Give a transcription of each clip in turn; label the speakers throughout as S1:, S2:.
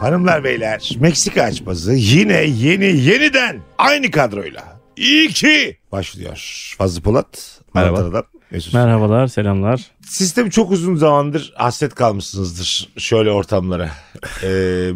S1: Hanımlar beyler Meksika açması yine yeni yeniden aynı kadroyla. İyi ki başlıyor. Fazlı Polat.
S2: Merhaba.
S1: Ankara'dan Mesut.
S2: Merhabalar, selamlar.
S1: Sistem çok uzun zamandır hasret kalmışsınızdır şöyle ortamlara. Ee,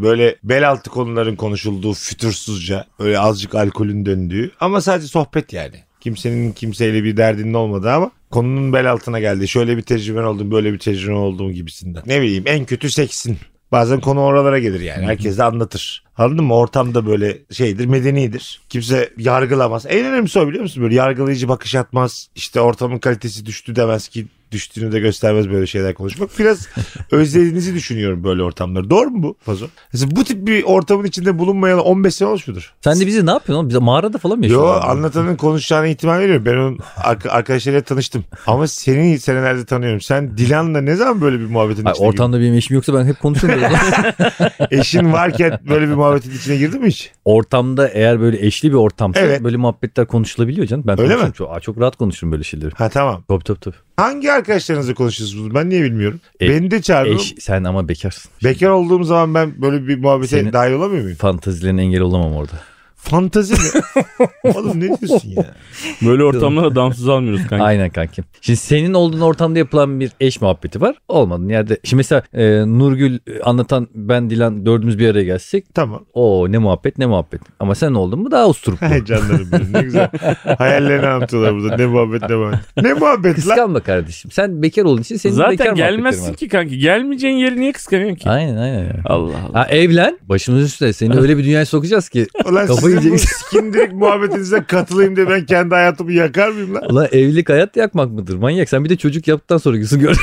S1: böyle bel altı konuların konuşulduğu fütursuzca böyle azıcık alkolün döndüğü ama sadece sohbet yani. Kimsenin kimseyle bir derdinin olmadığı ama konunun bel altına geldi. Şöyle bir tecrüben oldum böyle bir tecrüben oldum gibisinden. Ne bileyim en kötü seksin. Bazen konu oralara gelir yani. Herkes de anlatır. Anladın mı? Ortamda böyle şeydir, medenidir. Kimse yargılamaz. En önemlisi o biliyor musun? Böyle yargılayıcı bakış atmaz. İşte ortamın kalitesi düştü demez ki düştüğünü de göstermez böyle şeyler konuşmak. Biraz özlediğinizi düşünüyorum böyle ortamları. Doğru mu bu Fazo? Mesela bu tip bir ortamın içinde bulunmayalı 15 sene olmuş mudur?
S3: Sen de bizi ne yapıyorsun oğlum? Biz mağarada falan mı
S1: Yo
S3: yaşıyorsun?
S1: anlatanın konuşacağına ihtimal veriyorum. Ben onun arka- arkadaşlarıyla tanıştım. Ama seni senelerde tanıyorum. Sen Dilan'la ne zaman böyle bir muhabbetin
S3: Ay,
S1: içine
S3: ortamda benim eşim yoksa ben hep konuşurum. böyle.
S1: girdin? Eşin varken böyle bir muhabbetin içine girdin mi hiç?
S3: Ortamda eğer böyle eşli bir ortamsa
S1: Evet.
S3: böyle muhabbetler konuşulabiliyor canım. Ben
S1: Öyle
S3: konuşurum
S1: mi?
S3: Çok, Aa, çok rahat konuşurum böyle şeyleri.
S1: Ha tamam.
S3: Top top top.
S1: Hangi arkadaşlarınızla konuşuyorsunuz bunu? Ben niye bilmiyorum.
S3: E,
S1: Beni de çağırın.
S3: Eş sen ama bekarsın.
S1: Bekar olduğum zaman ben böyle bir muhabbete
S3: Senin-
S1: dahil olamıyor muyum?
S3: Fantazilerine engel olamam orada.
S1: Fantezi mi? Oğlum ne diyorsun ya?
S2: Böyle ortamlara damsız almıyoruz kanka.
S3: Aynen kankim. Şimdi senin olduğun ortamda yapılan bir eş muhabbeti var. Olmadın yerde. Şimdi mesela e, Nurgül e, anlatan ben Dilan dördümüz bir araya gelsek.
S1: Tamam.
S3: O ne muhabbet ne muhabbet. Ama sen oldun mu daha usturuplu.
S1: Ay canlarım benim ne güzel. Hayallerini anlatıyorlar burada. Ne muhabbet ne muhabbet. Ne muhabbet lan?
S3: Kıskanma kardeşim. Sen bekar olduğun için senin bekar
S2: Zaten
S3: muhabbetlerin
S2: gelmezsin
S3: var.
S2: ki kanka. Gelmeyeceğin yeri niye kıskanıyorsun ki?
S3: Aynen aynen. aynen.
S2: Allah Allah.
S3: Ha, evlen. Başımız üstüne. Seni öyle bir dünyaya sokacağız ki.
S1: Ulan sizin
S3: Kafayı
S1: bu
S3: yiyeceksin.
S1: skindirik muhabbetinize katılayım diye ben kendi hayatımı yakar mıyım lan?
S3: Ulan evlilik hayat yakmak mıdır? Manyak. Sen bir de çocuk yaptıktan sonra gözün gör.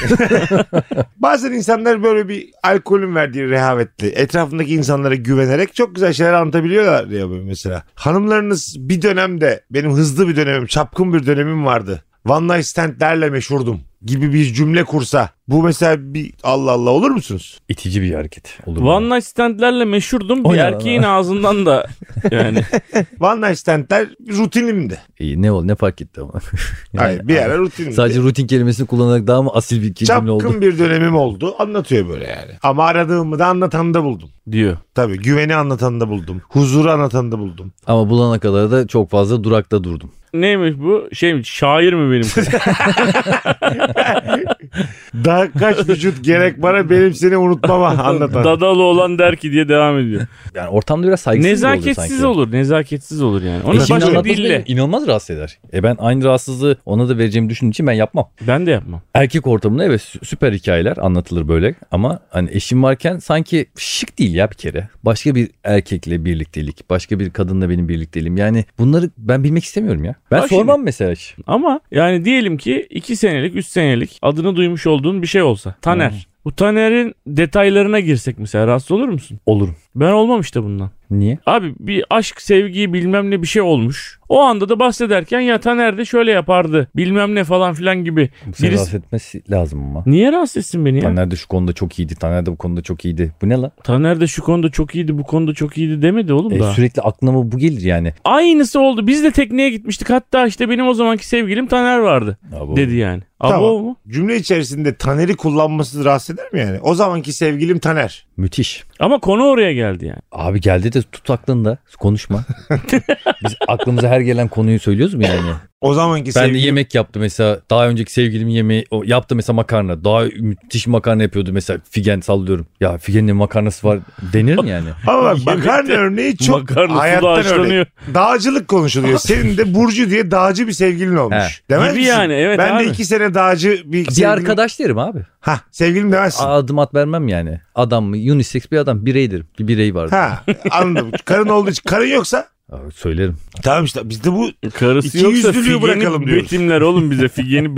S1: Bazen insanlar böyle bir alkolün verdiği rehavetli etrafındaki insanlara güvenerek çok güzel şeyler anlatabiliyorlar ya böyle mesela. Hanımlarınız bir dönemde benim hızlı bir dönemim çapkın bir dönemim vardı. One night standlerle meşhurdum gibi bir cümle kursa bu mesela bir Allah Allah olur musunuz?
S3: İtici bir hareket. Olur mu?
S2: One night standlerle meşhurdum.
S3: O
S2: Bir
S3: ne
S2: erkeğin ağzından da yani.
S1: One night standler rutinimdi.
S3: İyi, ne oldu ne fark etti ama.
S1: Hayır, bir ara rutinimdi.
S3: Sadece rutin kelimesini kullanarak daha mı asil bir kelime
S1: çapkın
S3: oldu?
S1: bir dönemim oldu anlatıyor böyle yani. Ama aradığımı da anlatanı da buldum.
S2: diyor.
S1: Tabii güveni anlatanı da buldum. Huzuru anlatanı da buldum.
S3: Ama bulana kadar da çok fazla durakta durdum.
S2: Neymiş bu? Şey mi? Şair mi benim? kız?
S1: Daha kaç vücut gerek bana benim seni unutmama anlatan.
S2: Dadalı olan der ki diye devam ediyor.
S3: Yani ortamda biraz saygısız olur sanki.
S2: Nezaketsiz olur. Nezaketsiz olur yani. Onun
S3: E şimdi
S2: başka
S3: anlatması
S2: dille.
S3: beni inanılmaz rahatsız eder. E ben aynı rahatsızlığı ona da vereceğimi düşündüğüm için ben yapmam.
S2: Ben de yapmam.
S3: Erkek ortamında evet sü- süper hikayeler anlatılır böyle ama hani eşim varken sanki şık değil ya bir kere. Başka bir erkekle birliktelik, başka bir kadınla benim birlikteliğim. Yani bunları ben bilmek istemiyorum ya. Ben
S2: Ha şimdi-
S3: sormam mesela hiç.
S2: Ama yani diyelim ki 2 senelik 3 senelik adını duymuş olduğun bir şey olsa. Taner.
S3: Hmm.
S2: Bu Taner'in detaylarına girsek mesela rahatsız olur musun?
S3: Olurum.
S2: Ben olmam işte bundan.
S3: Niye?
S2: Abi bir aşk sevgi bilmem ne bir şey olmuş. O anda da bahsederken ya Taner de şöyle yapardı bilmem ne falan filan gibi.
S3: Seni
S2: Birisi-
S3: rahatsız etmesi lazım ama.
S2: Niye rahatsız etsin beni ya? Taner.
S3: Taner de şu konuda çok iyiydi. Taner de bu konuda çok iyiydi. Bu ne lan?
S2: de şu konuda çok iyiydi bu konuda çok iyiydi demedi oğlum
S3: E,
S2: da.
S3: sürekli aklıma bu gelir yani.
S2: Aynısı oldu biz de tekneye gitmiştik hatta işte benim o zamanki sevgilim Taner vardı
S3: Abo.
S2: dedi yani. Abo
S1: Tamam.
S2: mu?
S1: Cümle içerisinde Taner'i kullanması rahatsız eder mi yani? O zamanki sevgilim Taner.
S3: Müthiş.
S2: Ama konu oraya geldi yani.
S3: Abi geldi de tut aklında. Konuşma. Biz aklımıza her gelen konuyu söylüyoruz mu yani?
S1: O zamanki
S3: Ben
S1: sevgilim.
S3: de yemek yaptı mesela. Daha önceki sevgilimin yemeği o yaptı mesela makarna. Daha müthiş makarna yapıyordu mesela. Figen sallıyorum. Ya Figen'in de makarnası var denir mi yani?
S1: Ama bak makarna örneği çok
S2: Makarna suda
S1: hayattan örneği.
S2: haşlanıyor.
S1: Dağcılık konuşuluyor. Senin de Burcu diye dağcı bir sevgilin olmuş. Demez
S2: Gibi
S1: misin?
S2: yani, evet
S1: Ben
S2: abi.
S1: de iki sene dağcı bir,
S3: Bir
S1: sevgilim.
S3: arkadaş derim abi.
S1: Ha sevgilim demezsin.
S3: Adım at vermem yani. Adam mı? Unisex bir adam. Bireydir. Bir birey vardı.
S1: Ha anladım. Karın olduğu için. Karın yoksa
S3: Aa, Söylerim.
S1: tamam işte bizde bu
S2: Karısı
S1: İki
S2: yoksa
S1: yüzlülüğü bırakalım
S2: figeni
S1: diyoruz.
S2: betimler oğlum bize figeni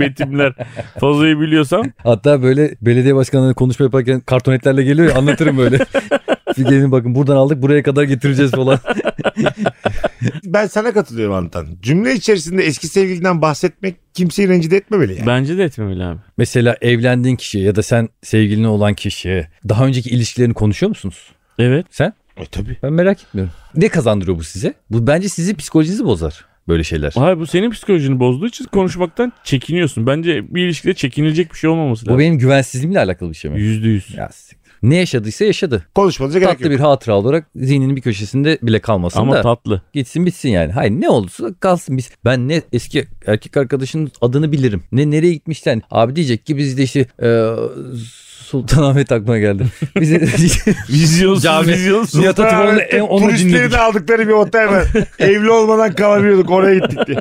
S2: betimler. Fazlayı biliyorsam
S3: Hatta böyle belediye başkanları konuşma yaparken kartonetlerle geliyor ya anlatırım böyle. Figen'in bakın buradan aldık buraya kadar getireceğiz falan.
S1: ben sana katılıyorum Antan. Cümle içerisinde eski sevgilinden bahsetmek kimseyi rencide etmemeli yani.
S2: bence de etmemeli abi.
S3: Mesela evlendiğin kişiye ya da sen sevgiline olan kişiye daha önceki ilişkilerini konuşuyor musunuz?
S2: Evet.
S3: Sen?
S1: E tabii.
S3: Ben merak etmiyorum. Ne kazandırıyor bu size? Bu bence sizi psikolojinizi bozar böyle şeyler.
S2: Hayır bu senin psikolojini bozduğu için konuşmaktan çekiniyorsun. Bence bir ilişkide çekinilecek bir şey olmaması
S3: Bu
S2: lazım.
S3: benim güvensizliğimle alakalı bir şey mi?
S2: Yüzde yüz.
S3: Ya siktir. Ne yaşadıysa yaşadı.
S1: Konuşmanıza gerek
S3: Tatlı
S1: yok.
S3: bir hatıra olarak zihninin bir köşesinde bile kalmasın
S2: Ama
S3: da
S2: tatlı.
S3: gitsin bitsin yani. Hayır ne olursa kalsın biz. Ben ne eski erkek arkadaşının adını bilirim. Ne nereye gitmişten. Abi diyecek ki biz de işte e, Sultanahmet aklıma geldi. Biz
S2: Vizyonsuz
S3: Cami-
S2: vizyonsuz.
S3: Nihat Atıfoğlu'nun en- onu
S1: Turistlerin
S3: dinledik.
S1: aldıkları bir otel var. Evli olmadan kalabiliyorduk oraya gittik diye.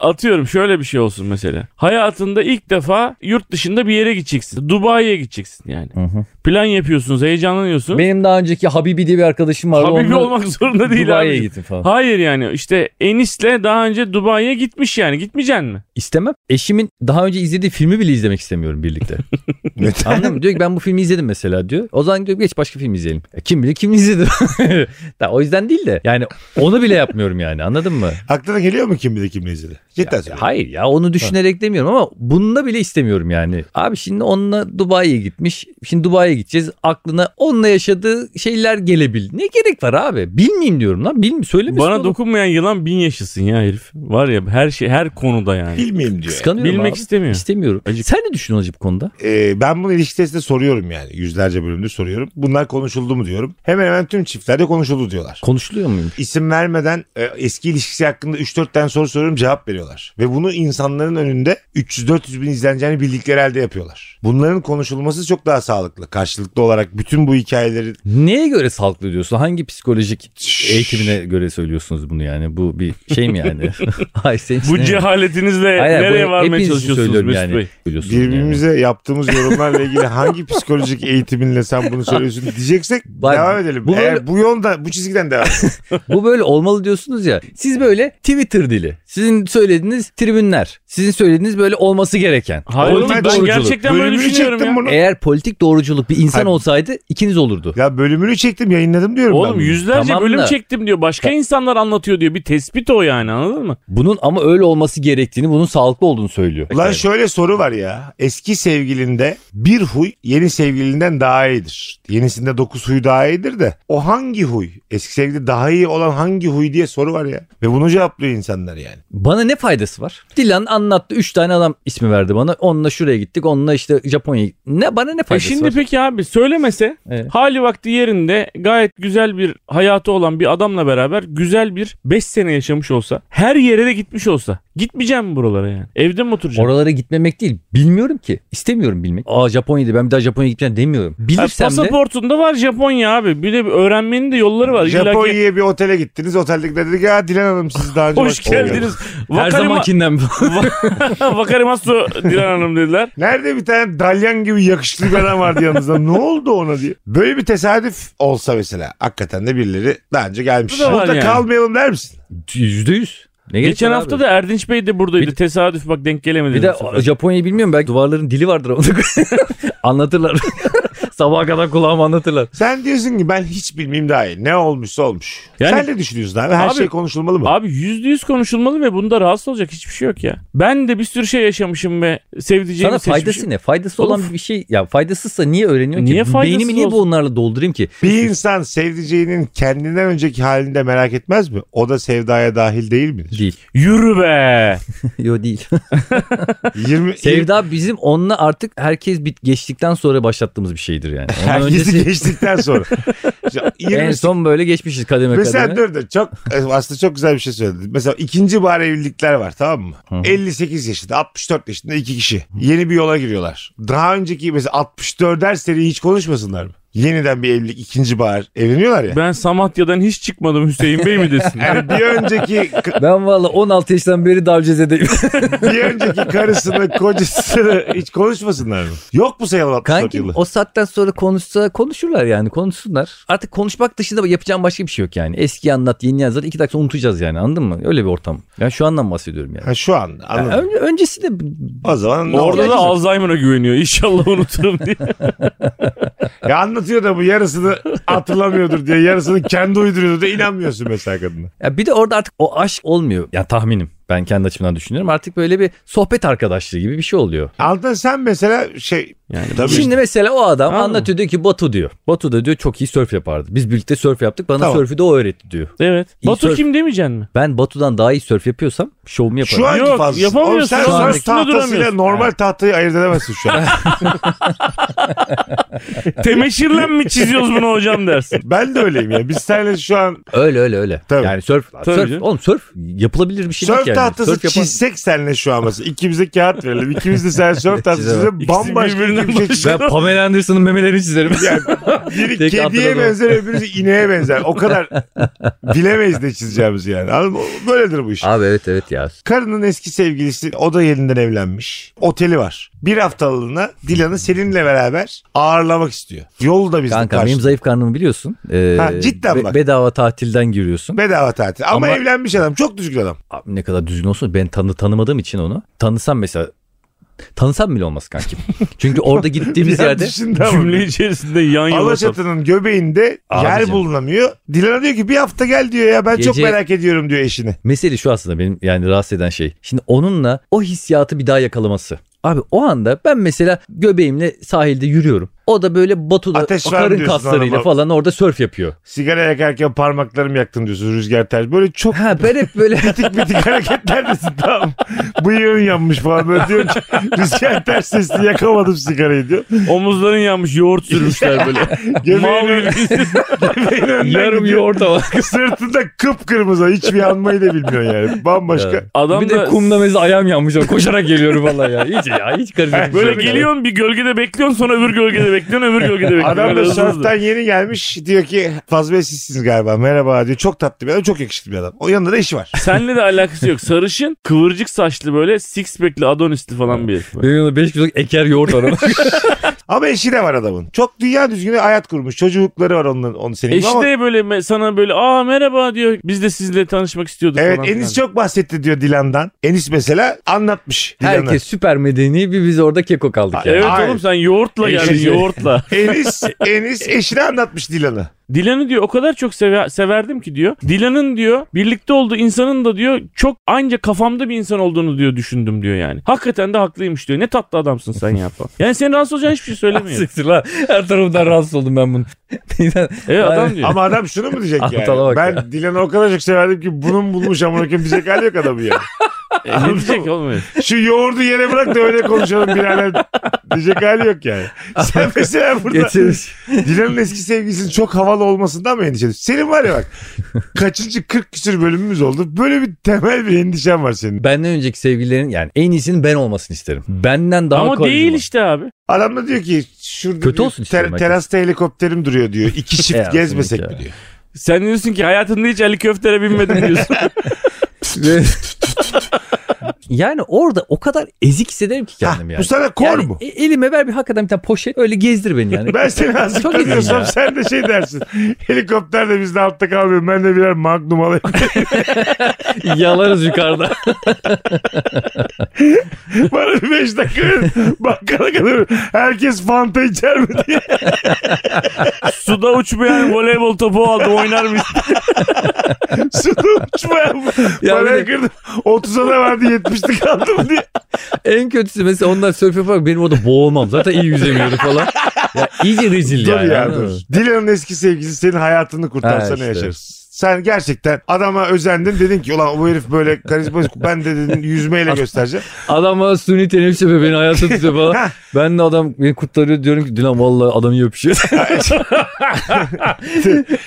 S2: Atıyorum şöyle bir şey olsun mesela. Hayatında ilk defa yurt dışında bir yere gideceksin. Dubai'ye gideceksin yani.
S3: Hı hı.
S2: Plan yapıyorsunuz, heyecanlanıyorsun.
S3: Benim daha önceki Habibi diye bir arkadaşım vardı.
S2: Habibi
S3: Onunla
S2: olmak zorunda değil
S3: Dubai'ye
S2: abi.
S3: gittim falan.
S2: Hayır yani işte Enis'le daha önce Dubai'ye gitmiş yani. Gitmeyeceksin mi?
S3: İstemem. Eşimin daha önce izlediği filmi bile izlemek istemiyorum birlikte. Anladın mı? Diyor ki ben bu filmi izledim mesela diyor. O zaman diyor geç başka film izleyelim. E, kim bilir kim izledi. da, o yüzden değil de yani onu bile yapmıyorum yani anladın mı?
S1: Aklına geliyor mu kim bilir kim nezili? Yeter. söyle.
S3: Hayır ya onu düşünerek demiyorum ama bununla bile istemiyorum yani. Abi şimdi onunla Dubai'ye gitmiş. Şimdi Dubai'ye gideceğiz. Aklına onunla yaşadığı şeyler gelebilir. Ne gerek var abi? Bilmeyeyim diyorum lan. Bilmi söylemesin.
S2: Bana
S3: oğlum.
S2: dokunmayan yılan bin yaşasın ya herif. Var ya her şey her konuda yani.
S1: Bilmeyeyim diyor.
S3: Kıskanıyorum
S2: Bilmek
S3: abi.
S2: istemiyor.
S3: İstemiyorum. Sen ne düşünüyorsun acaba bu konuda?
S1: Ee, ben bunu ilişki testinde soruyorum yani. Yüzlerce bölümde soruyorum. Bunlar konuşuldu mu diyorum. Hemen hemen tüm çiftlerde konuşuldu diyorlar.
S3: Konuşuluyor muymuş?
S1: İsim vermeden e, eski ilişkisi hakkında 3-4 tane soru soruyorum cevap veriyorlar. Ve bunu insanların önünde 300-400 bin izleneceğini bildikleri halde yapıyorlar. Bunların konuşulması çok daha sağlıklı. Karşılıklı olarak bütün bu hikayeleri
S3: Neye göre sağlıklı diyorsun? Hangi psikolojik eğitimine göre söylüyorsunuz bunu yani? Bu bir şey mi yani? Ay senin
S2: Bu
S3: için-
S2: cehaletinizle
S3: Hayır, hayır,
S2: nereye
S3: bu
S2: varmaya
S3: hepiniz için
S2: çalışıyorsunuz
S3: söylüyorum
S2: Mesut
S3: yani.
S2: Bey?
S3: Biliyorsunuz yani.
S1: birbirimize yaptığımız yorumlarla ilgili hangi psikolojik eğitiminle sen bunu söylüyorsun diyeceksek
S3: Bak,
S1: devam edelim.
S3: bu
S1: Bu,
S3: böyle-
S1: bu yolda bu çizgiden devam. edelim.
S3: Bu böyle olmalı diyorsunuz ya. Siz böyle Twitter dili. Sizin söylediğiniz tribünler. Sizin söylediğiniz böyle olması gereken.
S2: Hayır
S1: Oğlum,
S2: oğlum,
S1: ben
S2: ben
S3: doğruculuk.
S2: gerçekten böyle
S1: Bölümünü
S2: düşünüyorum
S1: çektim
S2: ya.
S1: bunu.
S3: Eğer politik doğruculuk bir insan
S1: Hayır.
S3: olsaydı ikiniz olurdu.
S1: Ya bölümünü çektim yayınladım diyorum ben.
S2: Oğlum
S1: bunu.
S2: yüzlerce
S3: Tamam
S2: bölüm
S3: da-
S2: çektim diyor. Başka insanlar anlatıyor diyor. Bir tespit o yani anladın mı? E
S3: Bunun ama öyle olması gerektiğini, bunun sağlıklı olduğunu söylüyor.
S1: Lan şöyle soru var ya. Eski sevgilinde bir huy yeni sevgilinden daha iyidir. Yenisinde dokuz huy daha iyidir de o hangi huy? Eski sevgilide daha iyi olan hangi huy diye soru var ya. Ve bunu cevaplıyor insanlar yani.
S3: Bana ne faydası var? Dilan anlattı. Üç tane adam ismi verdi bana. Onunla şuraya gittik. Onunla işte Japonya'ya gittik. Ne, bana ne
S2: E
S3: faydası
S2: şimdi
S3: var?
S2: peki abi söylemese
S3: Evet.
S2: hali vakti yerinde gayet güzel bir hayatı olan bir adamla beraber güzel bir 5 sene yaşamış olsa her yere de gitmiş olsa gitmeyeceğim mi buralara yani? Evde mi oturacaksın?
S3: Oralara gitmemek değil. Bilmiyorum ki. İstemiyorum bilmek. Aa Japonya'da ben bir daha Japonya'ya gitmeyeceğim demiyorum.
S2: Ha,
S3: Bilirsem de
S2: pasaportunda var Japonya abi. Bir de bir öğrenmenin de yolları var. İlla ki-
S1: Japonya'ya bir otele gittiniz. Oteldekiler dedi ki ya Dilan Hanım siz daha önce
S2: Hoş
S1: başka-
S2: geldiniz.
S3: her
S2: Vakarima-
S3: zamankinden
S2: Vakarimasu Dilan Hanım dediler.
S1: Nerede bir tane dalyan gibi yakışıklı bir adam vardı yanınızda. ne oldu ona diye. Böyle bir tesadüf olsa mesela. Hakikaten de birileri daha önce gelmiş.
S2: Bu da var
S1: Burada
S2: yani.
S1: kalmayalım der misin?
S3: Yüzde yüz. Ne gerek
S2: Geçen
S3: var
S2: hafta
S3: abi?
S2: da Erdinç Bey de buradaydı.
S3: Bir-
S2: Tesadüf bak denk gelemedi.
S3: bir de Japonya'yı bilmiyorum belki duvarların dili vardır onu anlatırlar. Sabaha kadar kulağıma anlatırlar.
S1: Sen diyorsun ki ben hiç bilmeyeyim daha iyi. Ne olmuşsa olmuş.
S2: Yani-
S1: Sen ne düşünüyorsun abi? Her
S2: Abi-
S1: şey konuşulmalı mı?
S2: Abi yüzde yüz konuşulmalı ve bunda rahatsız olacak hiçbir şey yok ya. Ben de bir sürü şey yaşamışım ve sevdiceğimi
S3: Sana faydası
S2: seçmişim.
S3: ne? Faydası olan
S2: Oğlum-
S3: bir şey ya faydasızsa niye öğreniyorsun
S2: Niye
S3: ki?
S2: faydasız
S3: Beynimi niye
S2: olsun?
S3: bu onlarla doldurayım ki?
S1: Bir insan sevdiceğinin kendinden önceki halinde merak etmez mi? O da sevdaya dahil değil midir?
S3: Değil.
S2: Yürü be.
S3: Yo değil.
S1: 20,
S3: Sevda bizim onunla artık herkes bit geçtikten sonra başlattığımız bir şeydir yani. Onun
S1: Herkesi
S3: öncesi-
S1: geçtikten sonra. Şimdi
S3: en
S1: 20
S3: son böyle geçmişiz kademe
S1: Mesela
S3: kademe.
S1: dur dur çok e, aslında çok güzel bir şey söyledin. Mesela ikinci bahar evlilikler var tamam mı? 58 yaşında 64 yaşında iki kişi. Yeni bir yola giriyorlar. Daha önceki mesela 64'er seri hiç konuşmasınlar mı? Yeniden bir evlilik ikinci bahar evleniyorlar ya.
S2: Ben Samatya'dan hiç çıkmadım Hüseyin Bey mi desin?
S1: Yani bir önceki
S3: Ben valla 16 yaştan beri Davceze'deyim.
S1: bir önceki karısını kocasını hiç konuşmasınlar mı? Yok mu sayalım 64
S3: Kanki
S1: yılı?
S3: o saatten sonra konuşsa konuşurlar yani konuşsunlar. Artık konuşmak dışında yapacağım başka bir şey yok yani. Eski anlat yeni yaz zaten iki dakika sonra unutacağız yani anladın mı? Öyle bir ortam. Yani şu andan bahsediyorum yani.
S1: Ha, şu an anladım.
S3: Yani ön- öncesi de
S1: o zaman ne
S2: Orada
S1: olacak?
S2: da Alzheimer'a güveniyor. İnşallah unuturum diye.
S1: Ya anlatıyor da bu yarısını hatırlamıyordur diye yarısını kendi uyduruyordur da inanmıyorsun mesela kadına.
S3: ya bir de orada artık o aşk olmuyor. Ya tahminim ben kendi açımdan düşünüyorum. Artık böyle bir sohbet arkadaşlığı gibi bir şey oluyor.
S1: Altan sen mesela şey
S2: Yani
S1: Tabii.
S3: Şimdi
S1: işte.
S3: mesela o adam
S2: Anladım.
S3: anlatıyor diyor ki Batu diyor. Batu da diyor çok iyi sörf yapardı. Biz birlikte sörf yaptık bana
S1: Tamam.
S3: sörfü de o öğretti diyor.
S2: evet.
S3: İyi
S2: Batu
S3: sörf-
S2: kim demeyeceksin mi?
S3: Ben Batu'dan daha iyi sörf yapıyorsam şovumu yaparım.
S1: Şu anki
S2: Yok,
S1: fazlası.
S2: yapamıyorsun.
S1: Oğlum sen
S2: Şu
S1: sörf
S2: an üstünde
S1: tahtasıyla
S2: duramıyorsun.
S1: normal tahtayı ayırt edemezsin şu an.
S2: Temeşirle mi çiziyoruz bunu hocam dersin.
S1: ben de öyleyim ya. Biz seninle şu an
S3: Öyle öyle öyle.
S1: Tabii.
S3: Yani sörf, sörf-
S2: canım.
S3: oğlum sörf yapılabilir bir şey
S1: sörf
S3: değil ki yani.
S1: tahtası
S3: Sörf yapan-
S1: çizsek seninle şu an mesela. İkimize kağıt verelim. İkimiz de sen sörf tahtasıyla
S3: Çizemem.
S1: bambaşka
S2: birbirinden
S1: bir şey
S2: başka.
S1: çizelim.
S3: Ben Pamela Anderson'ın memelerini çizerim.
S1: Biri
S3: Tek
S1: kediye
S3: hatırladım.
S1: benzer öbürü ineğe benzer. O kadar bilemeyiz ne çizeceğimiz yani. Anladın mı? Böyledir bu iş.
S3: Abi evet evet ya.
S1: Karının eski sevgilisi o da yerinden evlenmiş. Oteli var. Bir haftalığına Dilan'ı seninle beraber ağırlamak istiyor. Yolu da bizim
S3: Kanka
S1: karşı.
S3: benim zayıf karnımı biliyorsun. Ee,
S1: Ha, cidden bak.
S3: Bedava tatilden giriyorsun.
S1: Bedava tatil. Ama,
S3: Ama-
S1: evlenmiş adam. Çok düzgün adam.
S3: Abi ne kadar düzgün olsun ben tanı tanımadığım için onu. Tanısam mesela tanısam bile olmaz kankim. Çünkü orada gittiğimiz
S1: Ya
S3: yerde
S1: düşün tamam.
S2: Cümle içerisinde yan yana sap-
S1: Alaçatı'nın göbeğinde yer
S3: Abicim.
S1: bulunamıyor. Dilan'a diyor ki bir hafta gel diyor ya ben çok
S3: Gece-
S1: merak ediyorum diyor eşini.
S3: mesele şu aslında benim yani rahatsız eden şey. Şimdi onunla o hissiyatı bir daha yakalaması. Abi o anda ben mesela göbeğimle sahilde yürüyorum. O da böyle Batu'da
S1: Ateş
S3: o
S1: var
S3: karın
S1: diyorsun
S3: kaslarıyla
S1: adama.
S3: falan orada sörf yapıyor.
S1: Sigara yakarken parmaklarım yaktım diyorsun rüzgar ters. Böyle çok
S3: Ha ben hep böyle
S1: bitik bitik hareketler desin tamam. Bıyığın yanmış falan böyle diyor ki rüzgar ters sesli yakamadım sigarayı diyor.
S2: Omuzların yanmış yoğurt sürmüşler böyle. Mal
S1: Göbeğin,
S2: bilgisiz.
S1: göbeğin önünden
S3: yarım
S1: gidiyor.
S3: yoğurt var.
S1: Sırtında kıpkırmızı. Hiçbir yanmayı da bilmiyorsun yani. Bambaşka.
S3: Evet.
S2: Adam
S3: bir de
S2: da
S3: kumda mesela ayağım yanmış. Koşarak geliyorum vallahi ya. İyice ya hiç karışık. şey
S2: böyle geliyorsun bir gölgede bekliyorsun sonra öbür gölgede bekliyorsun öbür gölgede bekliyorsun.
S1: Adam
S2: Böyle
S1: da
S2: hızlı hızlı.
S1: sınıftan yeni gelmiş. Diyor ki Fazıl Bey sizsiniz galiba. Merhaba diyor. Çok tatlı bir adam. Çok yakışıklı bir adam. O yanında da işi var.
S2: Seninle de alakası yok. Sarışın, kıvırcık saçlı böyle six pack'li adonisli falan bir herif.
S3: Benim yanımda 5 kiloluk eker yoğurt var.
S1: Ama eşi de var adamın. Çok dünya düzgünü hayat kurmuş. Çocukları var onun, onun senin. gibi
S2: Eşi
S1: ama...
S2: de böyle me- sana böyle aa merhaba diyor. Biz de sizinle tanışmak istiyorduk
S1: Evet
S2: falan.
S1: Enis
S2: filan.
S1: çok bahsetti diyor Dilan'dan. Enis mesela anlatmış Dilan'ı.
S3: Herkes süper medeni bir biz orada keko kaldık yani.
S2: Evet
S1: Hayır.
S2: oğlum sen yoğurtla
S1: Eşi-
S2: geldin yoğurtla.
S1: Enis, Enis eşine anlatmış Dilan'ı.
S2: Dilan'ı diyor o kadar çok seve- severdim ki diyor. Dilan'ın diyor birlikte olduğu insanın da diyor çok anca kafamda bir insan olduğunu diyor düşündüm diyor yani. Hakikaten de haklıymış diyor. Ne tatlı adamsın sen ya falan. Yani seni rahatsız olacağın hiçbir şey söylemiyor.
S3: Siktir lan. Her tarafından rahatsız oldum ben bunu.
S2: evet adam diyor.
S1: Ama adam şunu mu diyecek
S3: Aptala
S1: yani?
S3: bak
S1: Ben
S3: ya.
S1: Dilan'ı o kadar çok severdim ki bunun bulmuş amına koyayım diyecek hali yok adamı ya.
S2: E, ne diyecek oğlum? herif?
S1: Şu yoğurdu yere bırak da öyle konuşalım birader diyecek hali yok yani. Sen mesela burada
S3: Geçeriz.
S1: Dilan'ın eski sevgilisinin çok havalı olmasından mı endişelisin? Senin var ya bak kaçıncı 40 küsür bölümümüz oldu. Böyle bir temel bir endişen var senin.
S3: Benden önceki sevgililerin yani en iyisinin ben olmasını isterim. Benden daha
S2: Ama
S3: karizma.
S2: değil işte abi.
S1: Adam da diyor ki şurada
S3: Kötü
S1: diyor,
S3: olsun isterim herkes.
S1: terasta helikopterim duruyor diyor. İki çift
S3: Ya,
S1: gezmesek
S3: seninki
S1: mi diyor.
S2: Sen diyorsun ki hayatında hiç Ali Köfter'e binmedim diyorsun.
S3: yani orada o kadar ezik hissederim ki
S1: Hah,
S3: kendimi yani.
S1: Bu sana kor
S3: Yani
S1: mu?
S3: e- elime ver bir hakikaten bir tane poşet öyle gezdir beni yani.
S1: Ben seni
S3: Çok iyi
S1: azıcık
S3: ya.
S1: sen de şey dersin. Helikopter de bizde altta kalmıyor. Ben de birer magnum alayım.
S3: Yalarız yukarıda.
S1: Bana bir beş dakika verin. Bakkala kadar herkes fanta içer mi diye.
S2: Suda uçmayan voleybol topu aldım oynar mıyız?
S1: Suda şey uçmayan.
S3: Ya bir
S1: Parayı
S3: de-
S1: kırdım. 30'a da vardı 70'te kaldım diye.
S3: en kötüsü mesela onlar sörf yaparak benim orada boğulmam. Zaten iyi yüzemiyordu falan. Ya iyice rezil
S1: Dur
S3: yani.
S1: ya
S3: anladın
S1: dur.
S3: mı?
S1: Dilan'ın eski sevgilisi senin hayatını kurtarsa
S3: Ha,
S1: ne
S3: işte.
S1: yaşarız? Sen gerçekten adama özendin dedin ki ulan bu herif böyle karizma ben de dedim yüzmeyle göstereceğim.
S3: Adam bana suni teneffüs yapıyor beni hayatta tutuyor
S1: Heh.
S3: falan. ben de adam beni kurtarıyor diyorum ki Dilan vallahi adam iyi öpüşüyor.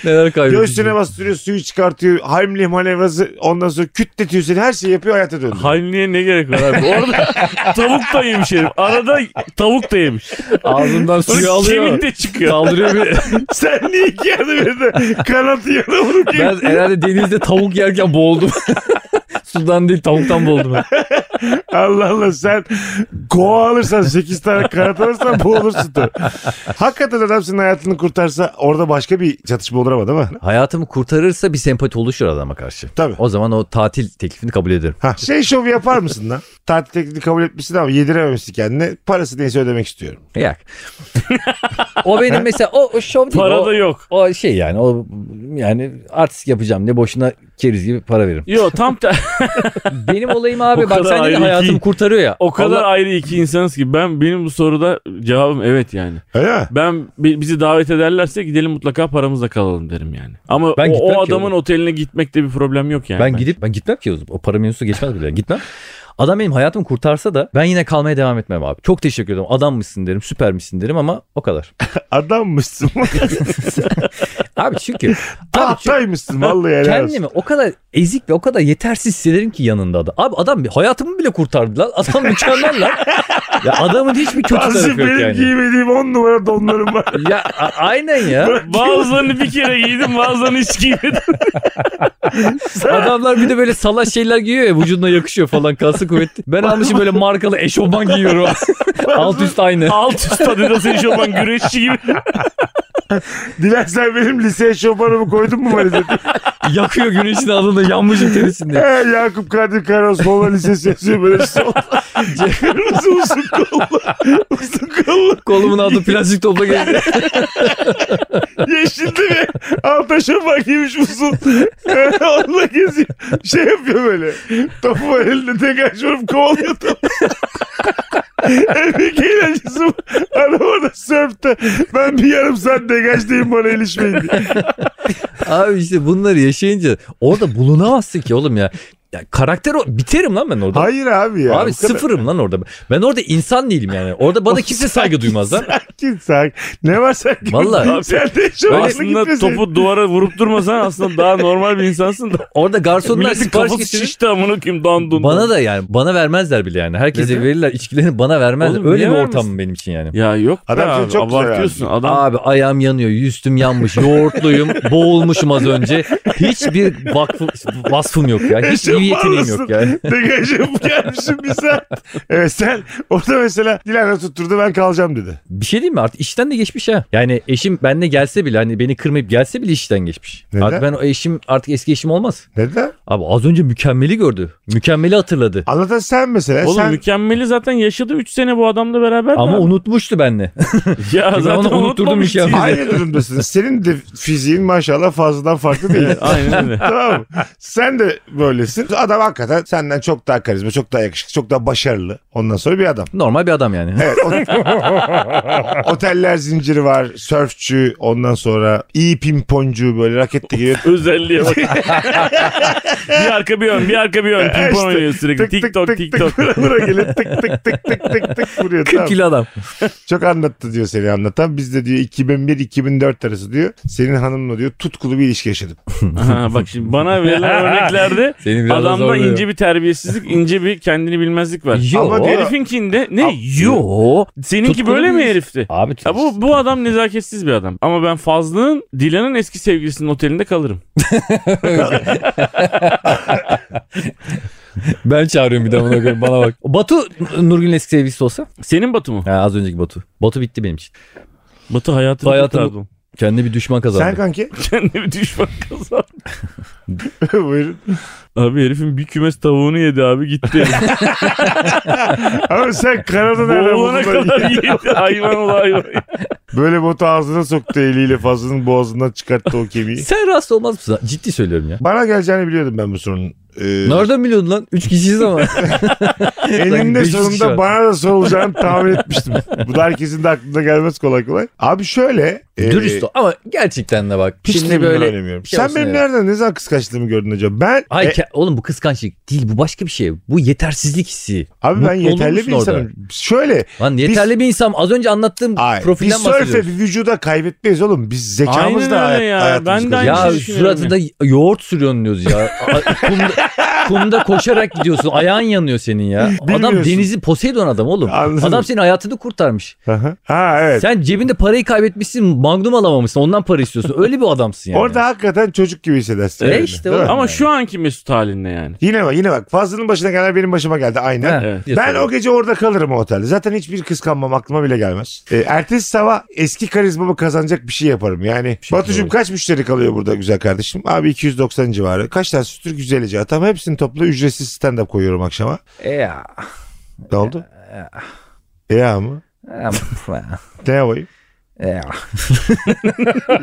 S3: Neler kaybediyor.
S1: Göğsüne bastırıyor suyu çıkartıyor. Heimlich manevrası ondan sonra kütletiyor seni her şeyi yapıyor hayata döndü.
S2: Halinliğe ne gerek var abi? Orada tavuk da yemiş herif. Arada tavuk da yemiş.
S3: Ağzından suyu
S2: Sonra
S3: alıyor.
S2: kemik de çıkıyor.
S3: Kaldırıyor bir.
S1: Sen niye iki yerde bir de kanat yana vurup
S3: Ben herhalde denizde tavuk yerken boğuldum. Sudan değil tavuktan boğuldum. ben.
S1: Allah Allah sen koa alırsan 8 tane kanat alırsan bu olursun da. Hakikaten adam senin hayatını kurtarsa orada başka bir çatışma olur ama değil mi?
S3: Hayatımı kurtarırsa bir sempati oluşur adama karşı.
S1: Tabii.
S3: O zaman o tatil teklifini kabul ederim.
S1: Ha, şey şovu yapar mısın lan? Tatil teklifi kabul etmişsin ama yedirememişsin kendine. Parası neyse ödemek istiyorum.
S3: Yak. o benim mesela o, o şov değil.
S2: Para
S3: o,
S2: da yok.
S3: o şey yani o yani artist yapacağım ne boşuna keriz gibi para veririm.
S2: Yo tam ter-
S3: Benim olayım abi
S2: Bu
S3: bak
S2: kadar
S3: sen
S2: ayrı
S3: dedin
S2: iki
S3: hayatımı kurtarıyor ya.
S2: O kadar
S3: Allah-
S2: ayrı iki insanız ki ben benim bu soruda cevabım evet yani.
S1: Öyle mi?
S2: Ben bi- bizi davet ederlerse gidelim mutlaka paramızla kalalım derim yani. Ama
S3: Ben
S2: o,
S3: gitmem
S2: o
S3: ki
S2: adamın
S3: oğlum.
S2: oteline gitmekte bir problem yok yani.
S3: ben
S2: bence.
S3: gidip ben gitmem ki o para mevzusu geçmez bile gitmem. Adam benim hayatımı kurtarsa da ben yine kalmaya devam etmem abi. Çok teşekkür ederim. Adam mısın derim, süper misin derim ama o kadar.
S1: Adammışsın.
S3: Abi çünkü abi çünkü
S1: Tahtaymışsın vallahi helal olsun.
S3: kendimi o kadar ezik ve o kadar yetersiz hissederim ki yanında adam. Abi adam hayatımı bile kurtardı lan. Adam mükemmel lan. Ya adamın hiçbir kötü tarafı
S1: Bazı
S3: yok
S1: benim
S3: yani.
S1: giymediğim 10 numara donlarım var.
S3: Ya a- aynen ya.
S2: Bazılarını bir kere giydim bazılarını hiç giymedim.
S3: Adamlar bir de böyle salaş şeyler giyiyor ya vücuduna yakışıyor falan kalsı kuvvetli. Ben almışım böyle markalı eşofman giyiyorum. Alt üst aynı.
S2: Alt üst Adidas eşofman güreşçi gibi.
S1: Dilersen benim liseye şopanımı koydun mu valizete?
S3: Yakıyor güneşin altında yanmışım
S1: Ee,
S3: terisinde.
S1: Yakup Kadir Karaos Mola Lisesi yazıyor böyle sol. Kırmızı uzun kollu. Uzun kollu.
S3: Kolumun altı plastik topla geldi.
S1: Yeşildi ve alta şopan giymiş uzun. Onunla geziyor. Şey yapıyor böyle. Topu var elinde tekrar çorup kovalıyor topu. en büyük eğlencesi bu. Adam orada sörfte. Ben bir yarım saat degajdayım bana ilişmeyin diye.
S3: Abi işte bunları yaşayınca orada bulunamazsın ki oğlum ya. ya karakter o biterim lan ben orada.
S1: Hayır abi ya.
S3: Abi
S1: Bu kadar-
S3: sıfırım lan orada. Ben orada insan değilim yani. Orada bana kimse saygı duymaz lan.
S1: Sakin sakin. Ne var sakin?
S3: Vallahi.
S1: Abi, Sen de şopanla
S2: aslında
S1: gitmesin.
S2: topu duvara vurup durmasan aslında daha normal bir insansın da.
S3: Orada garsonlar
S2: Milletin
S3: sipariş
S2: kafası
S3: getirir.
S2: şişti amına kim dandun.
S3: Bana da yani bana vermezler bile yani. Herkese
S2: Neden?
S3: verirler içkilerini bana vermezler.
S2: Oğlum
S3: Öyle
S2: niye
S3: bir ortam
S2: vermesin?
S3: benim için yani.
S2: Ya yok be
S1: Adam seni
S2: abi,
S1: çok güzel
S2: abartıyorsun. Adam
S3: Abi ayağım yanıyor, üstüm yanmış, yoğurtluyum, boğulmuşum az önce. Hiçbir vakfı, vasfım yok ya. Hiç iyi yeteneğim yok yani.
S1: Degajım gelmişim bir saat. Evet sen orada mesela Dilara tutturdu ben kalacağım dedi.
S3: Bir şey diyeyim mi artık işten de geçmiş ha. Yani eşim benle gelse bile hani beni kırmayıp gelse bile işten geçmiş.
S1: Neden?
S3: Artık ben o eşim artık eski eşim olmaz.
S1: Neden?
S3: Abi az önce mükemmeli gördü. Mükemmeli hatırladı.
S1: Anlatan sen mesela.
S2: Oğlum
S1: e sen...
S2: mükemmeli zaten yaşadı 3 sene bu adamla beraber.
S3: Ama unutmuştu benle.
S2: ya
S3: Ben
S2: zaten
S3: onu unutturdum
S2: unutmamış
S3: mükemmel.
S2: değil.
S1: Aynı durumdasın. Senin de fiziğin maşallah fazladan farklı değil.
S2: Evet, Aynen öyle.
S1: tamam mı? Sen de böylesin. Adam hakikaten senden çok daha karizma, çok daha yakışıklı, çok daha başarılı. Ondan sonra bir adam.
S3: Normal bir adam yani.
S1: Evet, o- oteller zinciri var, sörfçü, ondan sonra iyi pimponcu böyle raketle geliyor.
S2: Özelliğe bak. bir arka bir ön, bir arka bir ön.
S1: İşte,
S2: Pimpon oynuyor sürekli. TikTok, TikTok.
S1: Bura bura geliyor. Tık tık tık tık tık tık vuruyor.
S3: 40
S1: Tamam.
S3: kilo adam.
S1: Çok anlattı diyor seni anlatan. Biz de diyor 2001-2004 arası diyor. Senin hanımla diyor tutkulu bir ilişki yaşadım.
S2: Aha, bak şimdi bana verilen örneklerde
S3: Seni biraz daha
S2: adamda
S3: zorluyor.
S2: ince bir terbiyesizlik, ince bir kendini bilmezlik var.
S3: Yo.
S1: Ama diyor-
S2: Herifinkinde ne?
S1: Ama-
S2: Yo.
S3: Yo.
S2: Seninki
S3: Tutkulu
S2: böyle mi
S3: muyuz?
S2: herifti?
S3: Abi
S2: Ya bu, bu adam nezaketsiz bir adam. Ama ben Fazlı'nın Dilan'ın eski sevgilisinin otelinde kalırım.
S3: ben çağırıyorum bir de ona göre bana bak. Batu Nurgül'ün eski sevgilisi olsa.
S2: Senin Batu mu?
S3: Ha, az önceki Batu. Batu bitti benim için.
S2: Batı hayatını
S3: Hayatını-
S2: kurtardım.
S3: Kendi bir düşman kazandı.
S1: Sen kanki.
S2: Kendine bir düşman kazandı.
S1: Buyurun.
S2: Abi herifin bir kümes tavuğunu yedi abi gitti. herif.
S1: Ama sen kanadın nereden
S2: Boğulana
S1: buldun?
S2: kadar yedi hayvan ola hayvan.
S1: Böyle botu ağzına soktu eliyle fazlının boğazından çıkarttı o kemiği.
S3: Sen rahatsız olmaz mısın? Ciddi söylüyorum ya.
S1: Bana geleceğini biliyordum ben bu sorunun. Ee,
S3: Nereden biliyordun lan? Üç kişiyiz ama. Sanki
S1: Eninde
S3: beş kişi
S1: sonunda
S3: var.
S1: bana da sorulacağını tahmin etmiştim. Bu da herkesin de aklına gelmez kolay kolay. Abi şöyle. e,
S3: Dürüst ol. Ama gerçekten de bak.
S1: Hiç
S3: şimdi
S1: de
S3: böyle.
S1: böyle
S3: şey
S1: Sen
S3: olsun
S1: benim
S3: ya.
S1: nereden ne zaman kıskançlığımı gördün acaba? Ben
S3: Ay
S1: e,
S3: ke- oğlum bu kıskançlık değil bu başka bir şey. Bu yetersizlik hissi.
S1: abi ben
S3: mutlu olur
S1: yeterli
S3: musun
S1: bir insanım. Şöyle.
S3: Lan yeterli bir insan az önce anlattığım
S1: Ay, biz
S3: profilden
S1: sörfe
S3: bahsediyorum.
S1: bir vücuda kaybetmeyiz oğlum. Biz zekamızla
S2: Aynen
S1: hayat,
S2: öyle ya.
S1: hayatımızı
S2: Ben de aynı
S3: Ya
S1: kazanıyoruz.
S2: şey düşünüyorum
S3: suratında yoğurt sürüyorsun diyoruz ya. A- kumda, kumda koşarak gidiyorsun. Ayağın yanıyor senin ya. Adam
S1: Bilmiyorsun.
S3: denizi Poseidon adam oğlum.
S1: Anladım.
S3: Adam senin hayatını kurtarmış.
S1: Aha. ha evet.
S3: Sen cebinde parayı kaybetmişsin. Magnum alamamışsın. Ondan para istiyorsun. Öyle bir adamsın yani.
S1: Orada hakikaten çocuk gibi hissedersin.
S3: E
S1: kendini,
S3: işte
S1: değil mi?
S3: oğlum.
S2: Ama şu anki Mesut halinde yani.
S1: Yine bak yine bak. Fazlının başına gelen benim başıma geldi. Aynen.
S3: Ha,
S2: Evet.
S3: diyorsun.
S1: Ben o gece orada kalırım o otelde. Zaten hiçbir kıskanmam aklıma bile gelmez. E, ertesi sabah eski karizmamı kazanacak bir şey yaparım. Yani
S3: şey
S1: Batucuğum
S3: yapalım.
S1: kaç müşteri kalıyor burada güzel kardeşim? Abi 290 civarı. Kaç tane sütür güzelce atam. Hepsini topla ücretsiz stand up koyuyorum akşama.
S3: E ya.
S1: Ne oldu? E ya mı?
S3: Ama-
S1: Ne yapayım?
S3: Eh,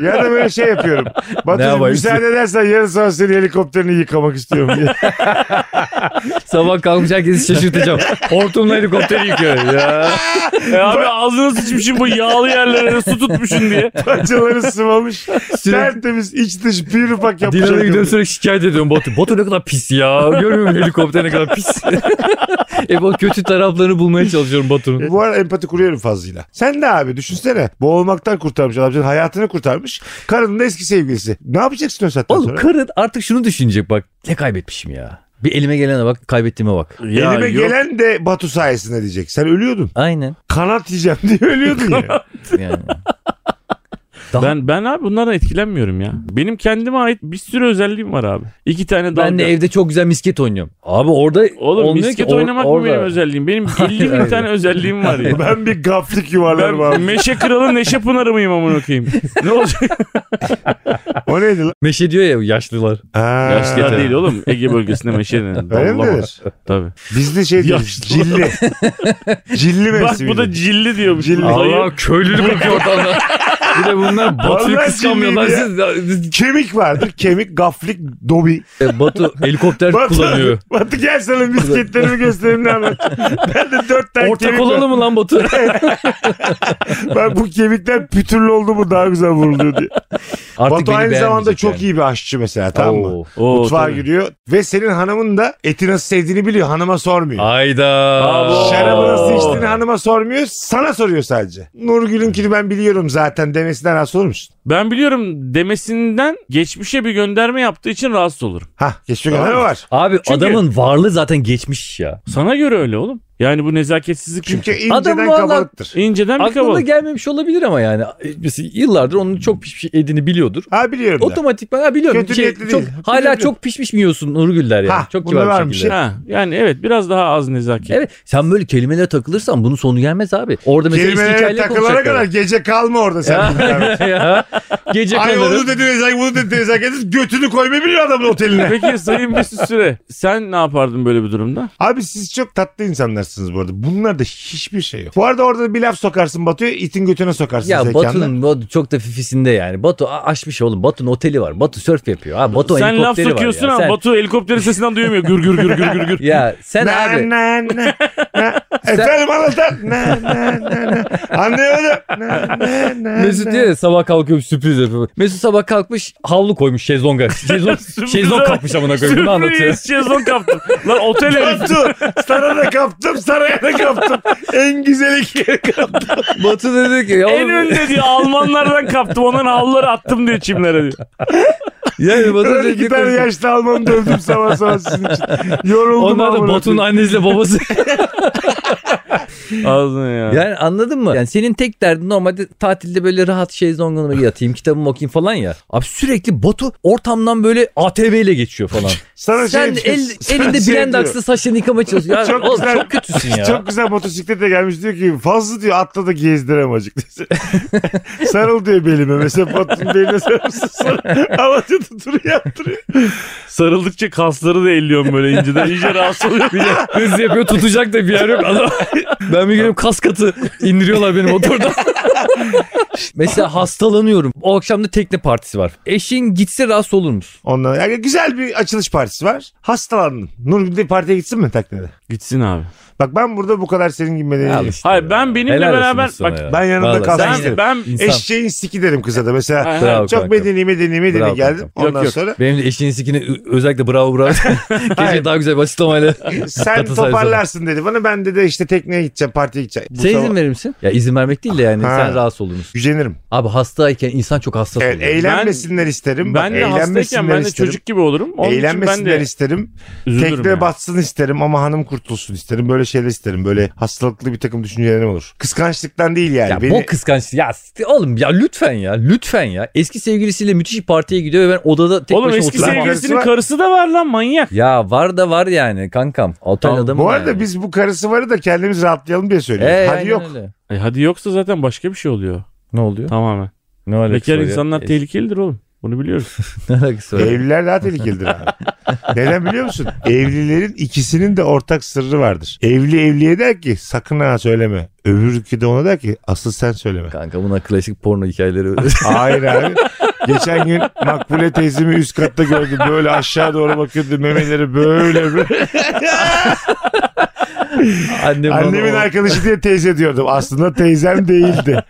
S1: Ya da böyle şey yapıyorum. Batucuğum
S3: yapayım?
S1: müsaade edersen yarın sabah senin helikopterini yıkamak istiyorum diye.
S3: Sabah kalkmış herkesi şaşırtacağım. Hortumla helikopteri yıkıyor. Ya.
S2: E abi ağzını sıçmışım bu yağlı yerlere su tutmuşsun diye.
S1: Parçaları sıvamış.
S3: Sürekli-
S1: Tertemiz iç dış bir ufak yapmış.
S2: şey
S3: Dilan'a gidiyorum
S1: helikopter.
S3: sürekli şikayet ediyorum Batu. Batu ne kadar pis ya. Görmüyor musun helikopter ne kadar pis. e bu kötü taraflarını bulmaya çalışıyorum
S2: E,
S3: Batu'nun.
S1: Bu arada empati kuruyorum fazlıyla. Sen de abi düşünsene. Boğulmaktan kurtarmış adam. Senin hayatını kurtarmış. Karının da eski sevgilisi. Ne yapacaksın o saatten
S3: Oğlum
S1: sonra?
S3: karın artık şunu düşünecek bak. Ne kaybetmişim ya. Bir elime gelene bak kaybettiğime bak.
S2: Ya
S1: Elime
S2: yok.
S1: gelen de Batu sayesinde diyecek. Sen ölüyordun.
S3: Aynen.
S1: Kanat yiyeceğim diye ölüyordun ya.
S3: Yani. Daha- ben,
S2: Ben ben abi bunlardan etkilenmiyorum ya. Benim kendime ait bir sürü özelliğim var abi. İki tane dalga.
S3: de evde çok güzel misket oynuyorum. Abi orada
S2: Oğlum
S3: olmuyor
S2: misket
S3: ki. Or-
S2: oynamak mı
S3: orada-
S2: benim özelliğim? Benim 50 bin
S3: Hayır.
S2: tane özelliğim var ya.
S1: ben bir gaflik yuvarlarım
S2: Ben
S1: abi.
S2: Meşe Kralı Neşe Pınarı mıyım amına koyayım? Ne olacak?
S1: O neydi lan?
S3: Meşe diyor ya yaşlılar.
S1: Ha.
S2: Yaşlılar değil oğlum. Ege bölgesinde meşe denir.
S1: Öyle mi
S2: Dallama.
S1: denir?
S2: Tabii.
S1: Biz de şey diyoruz.
S2: Yaşlı.
S1: Cilli. Cilli
S2: Bak
S1: mevsimi.
S2: bu da cilli diyormuş.
S1: Cilli.
S2: Dayı-
S3: Allah köylülü bakıyor ortamda. Bir de bunlar Batu'yu
S1: Vallahi
S3: kıskanmıyorlar. Siz,
S1: Kemik vardır. Kemik, gaflik, dobi.
S3: E, Batu helikopter
S1: Batu,
S3: kullanıyor.
S1: Batu gel sana misketlerimi göstereyim ne anlat. Ben de dört tane
S3: Orta
S1: kemik
S3: kolalı
S1: var.
S3: mı lan Batu?
S1: Ben bu kemikler pütürlü oldu mu daha güzel vuruluyor diye.
S3: Artık
S1: Batu
S3: beni
S1: aynı zamanda
S3: beğenmeyecek
S1: çok
S3: yani.
S1: iyi bir aşçı mesela tamam mı?
S3: Oo.
S2: Oo,
S1: Mutfağa
S2: tabii.
S1: giriyor ve senin hanımın da eti nasıl sevdiğini biliyor. Hanıma sormuyor.
S3: Ayda.
S2: Aa.
S1: Şarabı nasıl
S2: Oo.
S1: içtiğini hanıma sormuyor. Sana soruyor sadece. Nurgül'ünkini ben biliyorum zaten demesinden rahatsız olur musun?
S2: Ben biliyorum demesinden geçmişe bir gönderme yaptığı için rahatsız olurum.
S1: Hah geçmiş ne var?
S3: Abi
S2: Çünkü-
S3: adamın varlığı zaten geçmiş ya.
S2: Sana göre öyle oğlum. Yani bu nezaketsizlik
S1: Çünkü
S2: çünkü
S1: inceden
S3: Adam vallahi-
S1: kabalıktır.
S2: inceden bir
S3: Aklına
S2: kabalık.
S3: gelmemiş olabilir ama yani. e, Biz Yıllardır onun çok pişmiş yediğini biliyordur.
S1: Ha biliyorum da.
S3: Otomatikman ha biliyorum.
S1: Kötü
S3: Şey,
S1: niyetli
S3: çok,
S1: değil.
S3: Hala
S1: Biliyorum.
S3: çok pişmiş mi yiyorsun Nurgüller yani.
S1: Ha,
S3: çok
S1: bunda
S3: kibar bir
S1: varmış
S3: şekilde.
S2: Ha, yani evet biraz daha az nezaket.
S3: Evet sen böyle kelimelere takılırsan bunun sonu gelmez abi. Orada mesela eski
S1: Kelimelere
S3: hikayeleri
S1: takılana
S3: konuşacak.
S1: kadar gece kalma orada sen.
S3: Ya, ya. Gece
S1: Ay
S3: kalırım.
S1: onu dedi nezaket bunu dedi nezaket götünü koymayı biliyor adamın oteline.
S2: Peki Sayın Mesut Süre sen ne yapardın böyle bir durumda?
S1: Abi siz çok tatlı insanlarsınız bu arada. Bunlarda hiçbir şey yok. Bu arada orada bir laf sokarsın Batu'ya itin götüne sokarsın
S3: Ya
S1: zekanla.
S3: Batu'nun Batu çok da fifisinde yani. Batu a- aşmış oğlum. Batu'nun oteli var. Batu sörf yapıyor. Ha, Batu
S2: sen laf
S3: helikopteri var
S2: sokuyorsun
S3: ya.
S2: ama
S3: Sen-
S2: Batu helikopterin sesinden duyamıyor. Gür gür gür gür gür gür.
S3: Ya sen
S1: Na,
S3: abi.
S1: na, na, na. Efendim anlatan. Na, na, na, na. Anlayamadım. Na, na, na,
S3: Mesut
S1: na.
S3: diyor ya sabah kalkıyorum sürpriz yapıyorum. Mesut sabah kalkmış havlu koymuş şezlonga. Şezlong,
S2: Sürpriz
S3: şezlong
S2: ama-
S3: kalkmış amına koyayım. Bunu anlatıyor.
S2: Sürpriz şezlong kaptım. Lan otel herif.
S1: Batu sana da kaptım saraya da kaptım. en güzel iki kaptım.
S3: Batu dedi ki ya
S2: En
S3: oğlum,
S2: önde diyor Almanlardan kaptım. Onların havluları attım diyor çimlere diyor.
S3: yani Batu
S1: Öyle
S3: dedi
S1: iki
S3: ki
S1: tane yaşlı Alman dövdüm sabah sabah sizin için. Yoruldum.
S3: onlar da
S1: amına
S3: Batu'nun
S1: koyayım.
S3: annesiyle babası.
S2: Ağzına ya.
S3: yani anladın mı? Yani senin tek derdin normalde tatilde böyle rahat şezlonguna yatayım kitabımı okuyayım falan ya. Abi sürekli Batu ortamdan böyle ATV ile geçiyor falan.
S1: Sana
S3: Sen
S1: şey-
S3: el,
S1: sana
S3: elinde
S1: şey
S3: Blendax'la
S1: diyor.
S3: saçlarını yıkamaya çalışıyorsun. Ya,
S1: Çok
S3: çok, oğlum,
S1: güzel.
S3: çok kötüsün ya.
S1: Çok güzel motosiklete gelmiş diyor ki fazla diyor atla da gezdirem acık. Sarıl diyor belime mesela Batu'nun beline sarılsın sarıl. Ama diyor tuturu yaptırıyor.
S2: Sarıldıkça kasları da elliyorum böyle inceden. İyice rahatsız oluyor.
S3: Hız yapıyor tutacak da bir yer yok adam. Ben bir geliyorum kas katı indiriyorlar benim motordan. Mesela hastalanıyorum. O akşam da tekne partisi var. Eşin gitse rahatsız olur musun?
S1: Ondan yani güzel bir açılış partisi var. Hastalandın. Nurgül de partiye gitsin mi teknede?
S2: Gitsin abi.
S1: Bak ben burada bu kadar senin gibi
S3: Al
S1: medeni
S3: işte
S2: Hayır
S3: ya.
S2: ben benimle
S3: Helal olsun
S2: beraber
S3: sana
S2: bak
S3: ya.
S1: ben yanında
S3: Vallahi
S1: kalsam
S3: sen-
S1: isterim.
S2: ben ben
S3: İnsan.
S1: Eşeğin siki derim kıza da mesela.
S2: Aha.
S3: Bravo
S1: Çok
S3: kankam.
S1: medeni medeni medeni
S3: Bravo
S1: geldim.
S3: kankam.
S1: Ondan
S2: Yok, yok.
S1: sonra
S3: Benim de eşinin sikini ö- özellikle bravo bravo. Keşke daha güzel bir açıklamayla.
S1: sen
S3: Katı sayısı var.
S1: toparlarsın dedi bana. Ben de işte tekneye gideceğim, partiye gideceğim. Bu
S3: Sen
S1: sabah-
S3: Şey izin verir misin? Ya izin vermek değil de yani
S1: Ha.
S3: sen rahatsız olur musun?
S1: Gücenirim.
S3: Abi hastayken insan çok hassas
S1: Evet,
S3: oluyor.
S1: eğlenmesinler isterim. Bak,
S2: ben de hastayken
S1: eğlenmesinler
S2: ben de
S1: isterim.
S2: çocuk gibi olurum. Onun için ben
S1: Eğlenmesinler
S2: de
S1: isterim.
S2: üzülürüm.
S1: Tekne
S2: yani.
S1: batsın isterim ama hanım kurtulsun isterim. Böyle şeyler isterim. Böyle hastalıklı bir takım düşüncelerim olur. Kıskançlıktan değil yani.
S3: Ya
S1: Beni-
S3: bu kıskançlık. Ya s- oğlum ya lütfen ya. Lütfen ya. Eski sevgilisiyle müthiş bir partiye gidiyor ve ben odada tek
S2: Oğlum
S3: başıma
S2: eski
S3: oturuyorum.
S1: sevgili-
S2: sevgilisinin
S1: Karısı var.
S2: karısı da var lan manyak.
S3: Ya var da var yani kankam. Otel
S2: Tamam,
S3: adamı
S1: bu
S3: var
S1: arada
S3: yani.
S1: biz bu karısı varı da kendimiz rahatlayalım diye söylüyoruz.
S3: Ee,
S1: Hadi
S3: aynen
S1: yok.
S3: öyle.
S2: E hadi yoksa zaten başka bir şey oluyor.
S3: Ne oluyor?
S2: Tamamen.
S3: Ne alakası
S2: Bekar
S3: var ya?
S2: insanlar
S3: E,
S2: tehlikelidir oğlum. Bunu biliyoruz.
S3: ne alakası var?
S1: Evliler daha tehlikelidir abi. Neden biliyor musun? Evlilerin ikisinin de ortak sırrı vardır. Evli evliye der ki sakın ha söyleme. Öbürkü de ona der ki asıl sen söyleme.
S3: Kanka buna klasik porno hikayeleri
S1: Hayır abi. Geçen gün Makbule teyzemi üst katta gördüm. Böyle aşağı doğru bakıyordu. Memeleri böyle böyle.
S3: Annem
S1: Annemin arkadaşı diye teyze diyordum. Aslında teyzem değildi.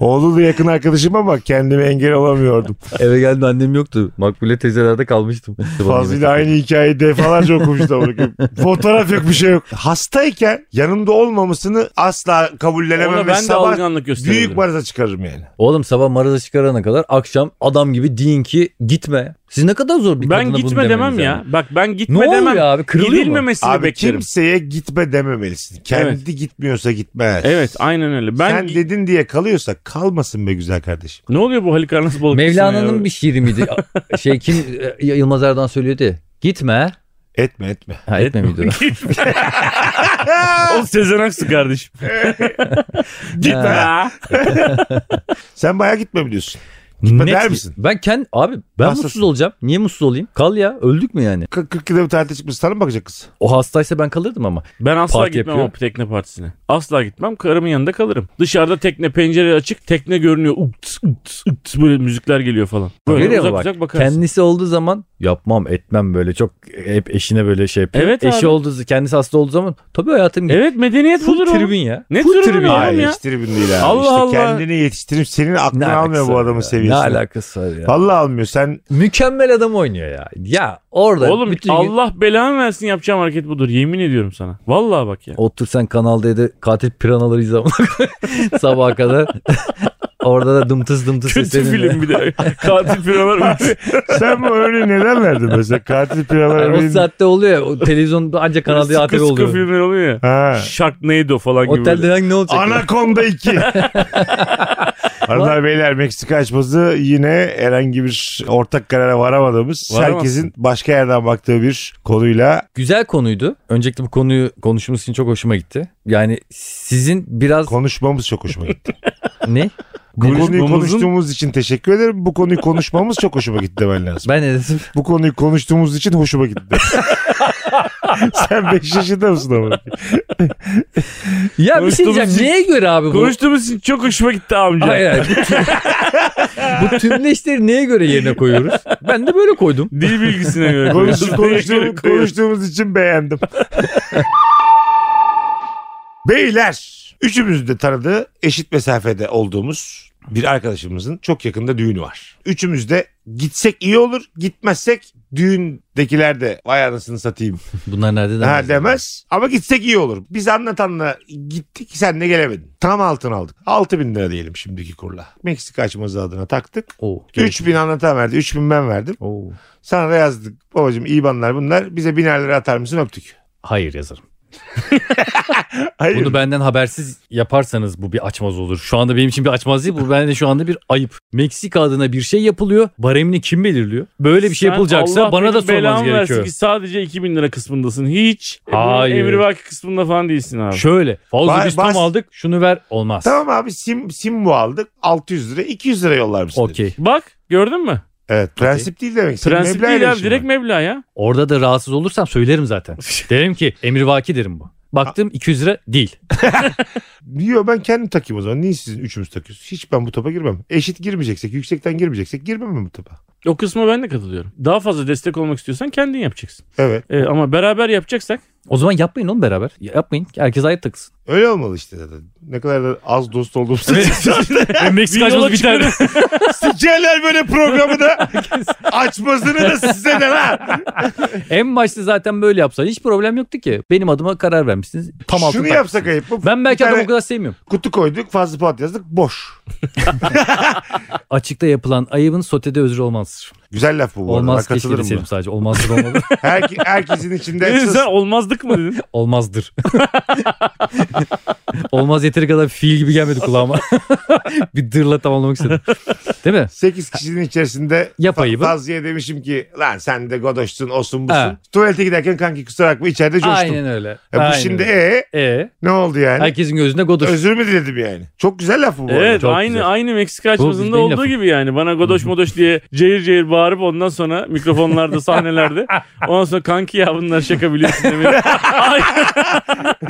S1: Oğlu da yakın arkadaşım ama kendime engel olamıyordum.
S3: Eve geldim annem yoktu. Makbule teyzelerde kalmıştım.
S1: Fazlıyla aynı hikayeyi defalarca okumuştum. Fotoğraf yok bir şey yok. Hastayken yanımda olmamasını asla
S2: Ona
S1: kabullenemem. ve
S2: ben de
S1: sabah
S2: alganlık gösteriyorum.
S1: büyük maraza çıkarırım yani.
S3: Oğlum sabah maraza çıkarana kadar akşam adam gibi deyin ki gitme. Siz ne kadar zor bir kadına
S2: ben
S3: bunu
S2: gitme demem
S3: demeniz
S2: ya.
S3: yani.
S2: Bak ben
S3: Ne
S2: gitme
S3: oluyor
S2: demem.
S3: abi kırılıyor mu?
S2: Gidilmemesini
S1: Abi
S2: beklerim.
S1: kimseye gitme dememelisin. Kendi gitmiyorsa gitmez.
S2: Evet aynen öyle. Ben
S1: Sen dedin diye kalıyorsa kalmasın be güzel kardeşim.
S2: ne oluyor bu Halikarnas balık? kısmı ya?
S3: Mevlana'nın bir şiiri miydi? şey kim Yılmaz Erdoğan söylüyordu. Gitme.
S1: Etme etme.
S3: Ha etme miydi? şey-
S2: O Sezen Aksu kardeşim. Gitme. ha.
S1: Sen bayağı gitme mi diyorsun?
S3: Net-
S1: der misin?
S3: Ben kend abi ben
S1: Hastasın.
S3: mutsuz olacağım. Niye mutsuz olayım? Kal ya. Öldük mü yani?
S1: 40 40 yılda bir tatile çıkmış sana mı bakacak kız?
S3: O hastaysa ben kalırdım ama.
S2: Ben asla
S3: Parti
S2: gitmem
S3: yapıyor.
S2: o tekne partisine. Asla gitmem. Karımın yanında kalırım. Dışarıda tekne pencere açık. Tekne görünüyor. Ut, ut, ut, böyle müzikler geliyor falan. Böyle
S3: Görüyor
S2: uzak
S3: musun?
S2: uzak bakarsın.
S3: Kendisi olduğu zaman yapmam etmem böyle çok hep eşine böyle şey yapıyor.
S2: Evet
S3: Eşi
S2: abi.
S3: olduğu kendisi hasta olduğu zaman tabii hayatım git.
S2: Evet medeniyet
S3: Full
S2: budur o.
S3: tribün ya.
S2: Ne
S3: Full
S2: tribünü
S3: tribün
S2: ya?
S3: ya.
S1: Hayır
S2: ya.
S1: hiç tribün değil abi.
S2: Allah
S1: işte
S2: Allah.
S1: kendini yetiştirip senin
S3: Ne
S1: aklını almıyor
S3: alakası
S1: bu
S3: var
S1: adamın
S3: ya?
S1: seviyesine.
S3: Ne alakası var ya?
S1: Vallahi almıyor. Sen
S3: Mükemmel adam oynuyor ya. Ya orada
S2: Oğlum
S3: bütün gün
S2: Allah belanı versin yapacağım hareket budur. Yemin ediyorum sana. Vallahi bak ya.
S3: otur sen Kanal D'de katil piranaları izle sabaha kadar. orada da dımtıs dımtıs
S2: Kötü
S3: sesleninle.
S2: film bir de. Katil firmalar uç.
S1: sen bu örneği neden verdin mesela? Katil piralar
S3: Yani o saatte oluyor ya. O televizyon ancak Kanal D'de ATV
S2: Sıkı sıkı
S3: oluyor.
S2: filmler oluyor ya.
S1: Ha.
S2: Sharknado falan gibi. böyle.
S3: Otelde hangi ne olacak? ya?
S1: Anakonda 2. Hanımlar beyler Meksika açması yine herhangi bir ortak karara varamadığımız
S2: Varamazsın.
S1: herkesin başka yerden baktığı bir konuyla
S3: Güzel konuydu. Öncelikle bu konuyu konuştuğumuz için çok hoşuma gitti. Yani sizin biraz
S1: konuşmamız çok hoşuma gitti.
S3: ne?
S1: Bu konuyu
S2: Konuşmamızın-
S1: konuştuğumuz için teşekkür ederim. Bu konuyu konuşmamız çok hoşuma gitti demen lazım.
S3: Ben ne dedim?
S1: Bu konuyu konuştuğumuz için hoşuma gitti. Sen 5 yaşında mısın ama?
S3: Ya bir şey
S2: Konuştuğumuz
S3: diyeceğim.
S2: için-
S3: Neye göre abi bu?
S2: Konuştuğumuz için çok hoşuma gitti amca.
S3: Hayır hayır. Bu, tüm... bu tümleşleri neye göre yerine koyuyoruz? Ben de böyle koydum.
S2: Dil bilgisine göre.
S1: Konuş,
S2: koyuyoruz.
S1: konuştuğum- konuştuğumuz için beğendim. Beyler, üçümüzün de tanıdığı eşit mesafede olduğumuz bir arkadaşımızın çok yakında düğünü var. Üçümüz de gitsek iyi olur, gitmezsek düğündekiler de vay anasını satayım
S3: Bunlar nerede
S1: ha, demez. Ama gitsek iyi olur. Biz anlatanla gittik sen de gelemedin. Tam altın aldık. 6 bin lira diyelim şimdiki kurla. Meksika açması adına taktık.
S3: Oo.
S1: 3 bin anlatan verdi, 3 bin ben verdim.
S3: Oo.
S1: Sana da yazdık. Babacım IBAN'lar bunlar. Bize biner lira atar mısın öptük.
S3: Hayır yazarım.
S1: Hayır.
S3: Bunu benden habersiz yaparsanız bu bir açmaz olur. Şu anda benim için bir açmaz değil. Bu bende şu anda bir ayıp. Meksika adına bir şey yapılıyor. Baremini kim belirliyor? Böyle bir şey
S2: Sen
S3: yapılacaksa
S2: Allah
S3: bana da
S2: benim belamı
S3: sormanız
S2: versin
S3: gerekiyor.
S2: ki sadece 2000 lira kısmındasın. Hiç.
S3: Hayır.
S2: Emri vaki kısmında falan değilsin abi.
S3: Şöyle. Fazla
S1: Ba-
S3: biz tam
S1: bas-
S3: aldık. Şunu ver. Olmaz.
S1: Tamam abi sim sim bu aldık. 600 lira 200 lira yollar mısın? dedi.
S3: Okey.
S2: Bak gördün mü?
S1: Evet prensip değil demek. Senin
S2: Prensip
S1: meblağ
S2: değil abi
S1: ilişkin
S2: direkt
S1: var.
S2: meblağ ya.
S3: Orada da rahatsız olursam söylerim zaten. derim ki emirvaki derim bu. Baktım 200 lira değil.
S1: Diyor ben kendim takayım o zaman. Niye sizin üçümüz takıyorsunuz? Hiç ben bu topa girmem. Eşit girmeyeceksek yüksekten girmeyeceksek girmem mi bu topa?
S2: O kısma ben de katılıyorum. Daha fazla destek olmak istiyorsan kendin yapacaksın.
S1: Evet.
S2: Ee, ama beraber yapacaksak
S3: O zaman yapmayın oğlum beraber. Yapmayın. Herkes ayet takılsın.
S1: Öyle olmalı işte zaten. Ne kadar da az dost olduğumuzu.
S3: Meksika
S2: Bir yola
S3: açması biter.
S1: Sikerler böyle programı da açmasını da size de lan.
S3: en başta zaten böyle yapsan hiç problem yoktu ki. Benim adıma karar vermişsiniz. Tam altın
S1: Şunu
S3: takmışsınız.
S1: yapsak ayıp mı?
S3: Ben
S1: Bir
S3: belki
S1: tane
S3: adamı o kadar sevmiyorum.
S1: Kutu koyduk fazla puat yazdık boş.
S3: Açıkta yapılan ayıbın sotede özür olmazdır.
S1: Güzel laf bu bu arada.
S3: Olmaz
S1: Ben
S3: keşke
S1: katılırım buna.
S3: deseydim sadece. Olmazdır olmadı.
S1: Herki, herkesin içinde
S2: dedin
S1: esas
S2: sen olmazdık mı dedin?
S3: Olmazdır. Olmaz yeteri kadar fiil gibi gelmedi kulağıma. bir dırla tamamlamak istedim. Değil mi?
S1: 8 kişinin içerisinde
S3: Yap
S1: fa-
S3: ayıbı.
S1: Fazlı'ya demişim ki lan sen de godoşsun osun busun.
S3: Ha.
S1: Tuvalete giderken kanki kusura bakma içeride coştum.
S3: Aynen öyle.
S1: Ya bu
S3: Aynen
S1: şimdi
S3: öyle.
S1: e
S3: E,
S1: ne oldu yani?
S3: herkesin gözünde godoş.
S1: Özür mü diledim yani? Çok güzel laf bu. bu arada.
S2: Evet
S3: çok
S2: aynı
S3: güzel.
S2: aynı Meksika
S3: bildiğin
S2: açmasında olduğu
S3: lafı.
S2: gibi yani. Bana godoş modoş diye cehir cehir bağırıp ondan sonra mikrofonlarda sahnelerde ondan sonra kanki ya bunlar şaka biliyorsun demeli. aynı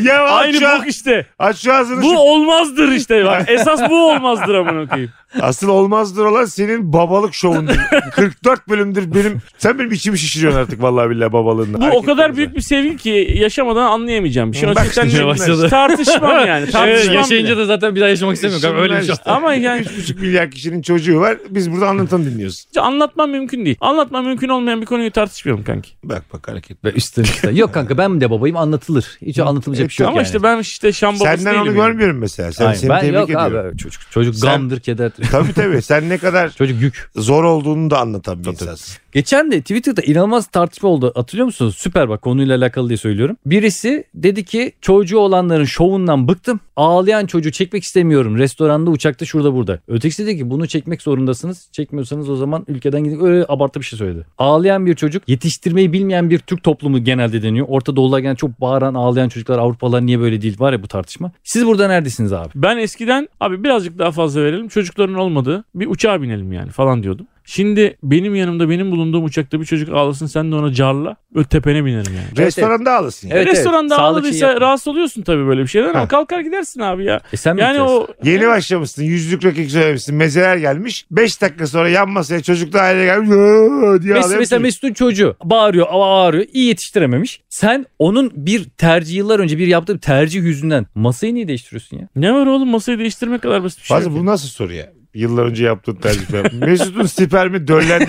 S1: Ya aç
S2: aynı
S1: şu,
S2: bok işte.
S1: aç şu ağzını.
S2: Bu
S1: şu-
S2: olmazdır işte bak. Esas bu olmazdır amına koyayım.
S1: Asıl olmazdır olan senin babalık şovundur. 44 bölümdür benim. Sen benim içimi şişiriyorsun artık vallahi billahi babalığında.
S2: Bu o kadar büyük bir sevgi ki yaşamadan anlayamayacağım bir şey. Onun
S1: Bak
S2: için sen
S1: işte
S3: başladı.
S2: tartışmam yani. Tartışmam
S3: Evet,
S2: bile.
S3: yaşayınca da zaten bir daha yaşamak istemiyorum.
S1: Şimdi
S3: Kanka, Öyle bir şey.
S1: işte.
S2: Ama yani
S1: 3,5 milyar kişinin çocuğu var. Biz burada anlatan dinliyoruz.
S2: anlatmam mümkün değil. Anlatmam mümkün olmayan bir konuyu tartışmıyorum kanki.
S1: Bak bak hareket.
S3: Ve üstüne üstüne. Yok kanka ben de babayım anlatılır. Hiç
S1: E,
S3: anlatılacak bir şey yok
S2: Ama
S3: yani.
S2: işte ben işte şam babası
S1: Senden
S2: değilim
S1: onu
S2: yani.
S1: görmüyorum mesela. Sen,
S3: Aynen.
S1: seni
S3: ben
S1: tebrik
S3: yok
S1: ediyorum.
S3: abi çocuk, çocuk
S1: Sen-
S3: gamdır keder.
S1: Tabii tabii. Sen ne kadar
S3: çocuk yük.
S1: zor olduğunu da anlatan bir insansın.
S3: Geçen de Twitter'da inanılmaz tartışma oldu. Hatırlıyor musunuz? Süper bak konuyla alakalı diye söylüyorum. Birisi dedi ki çocuğu olanların şovundan bıktım. Ağlayan çocuğu çekmek istemiyorum. Restoranda, uçakta, şurada, burada. Ötekisi dedi ki bunu çekmek zorundasınız. Çekmiyorsanız o zaman ülkeden gidin. Öyle abartı bir şey söyledi. Ağlayan bir çocuk yetiştirmeyi bilmeyen bir Türk toplumu genelde deniyor. Orta Doğu'da gene çok bağıran, ağlayan çocuklar Avrupalılar niye böyle değil var ya bu tartışma. Siz burada neredesiniz abi?
S2: Ben eskiden abi birazcık daha fazla verelim çocukların olmadığı bir uçağa binelim yani falan diyordum. Şimdi benim yanımda benim bulunduğum uçakta bir çocuk ağlasın sen de ona carla öte tepene binerim yani.
S3: Evet,
S1: Restoranda ağlasın. yani.
S3: Evet, evet.
S2: Restoranda
S3: Sağlık için
S2: ağladıysa
S3: yapma.
S2: rahatsız oluyorsun tabii böyle bir şeyden ama
S1: Ha.
S2: kalkar gidersin abi ya.
S3: E sen mi
S2: Yani
S3: bitiyorsun?
S2: o
S1: Yeni başlamışsın. Yüzlük rakik söylemişsin. Mezeler gelmiş. 5 dakika sonra yan masaya çocuk da aile gelmiş. "Yoo!" diye
S3: Mes-
S1: ağlayan
S3: mesela
S1: çocuk.
S3: Mesut'un çocuğu bağırıyor, ağrıyor, iyi yetiştirememiş. Sen onun bir tercih yıllar önce bir yaptığı bir tercih yüzünden masayı niye değiştiriyorsun ya?
S2: ne var oğlum masayı değiştirmek kadar basit bir şey.
S1: Fazla
S2: yok
S1: bu
S2: ya.
S1: nasıl soru ya? Yıllar önce yaptığın tercih. Mesut'un spermi döllendi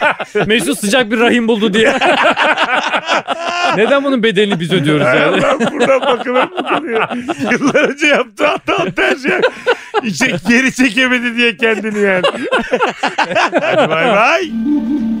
S1: diye.
S3: Mesut sıcak bir rahim buldu diye. Neden bunun bedelini biz ödüyoruz yani?
S1: Ben buradan bakamam bu konuya. Yıllar önce yaptığı hata tercih. İçe, geri çekemedi diye kendini yani. Hadi bay bay.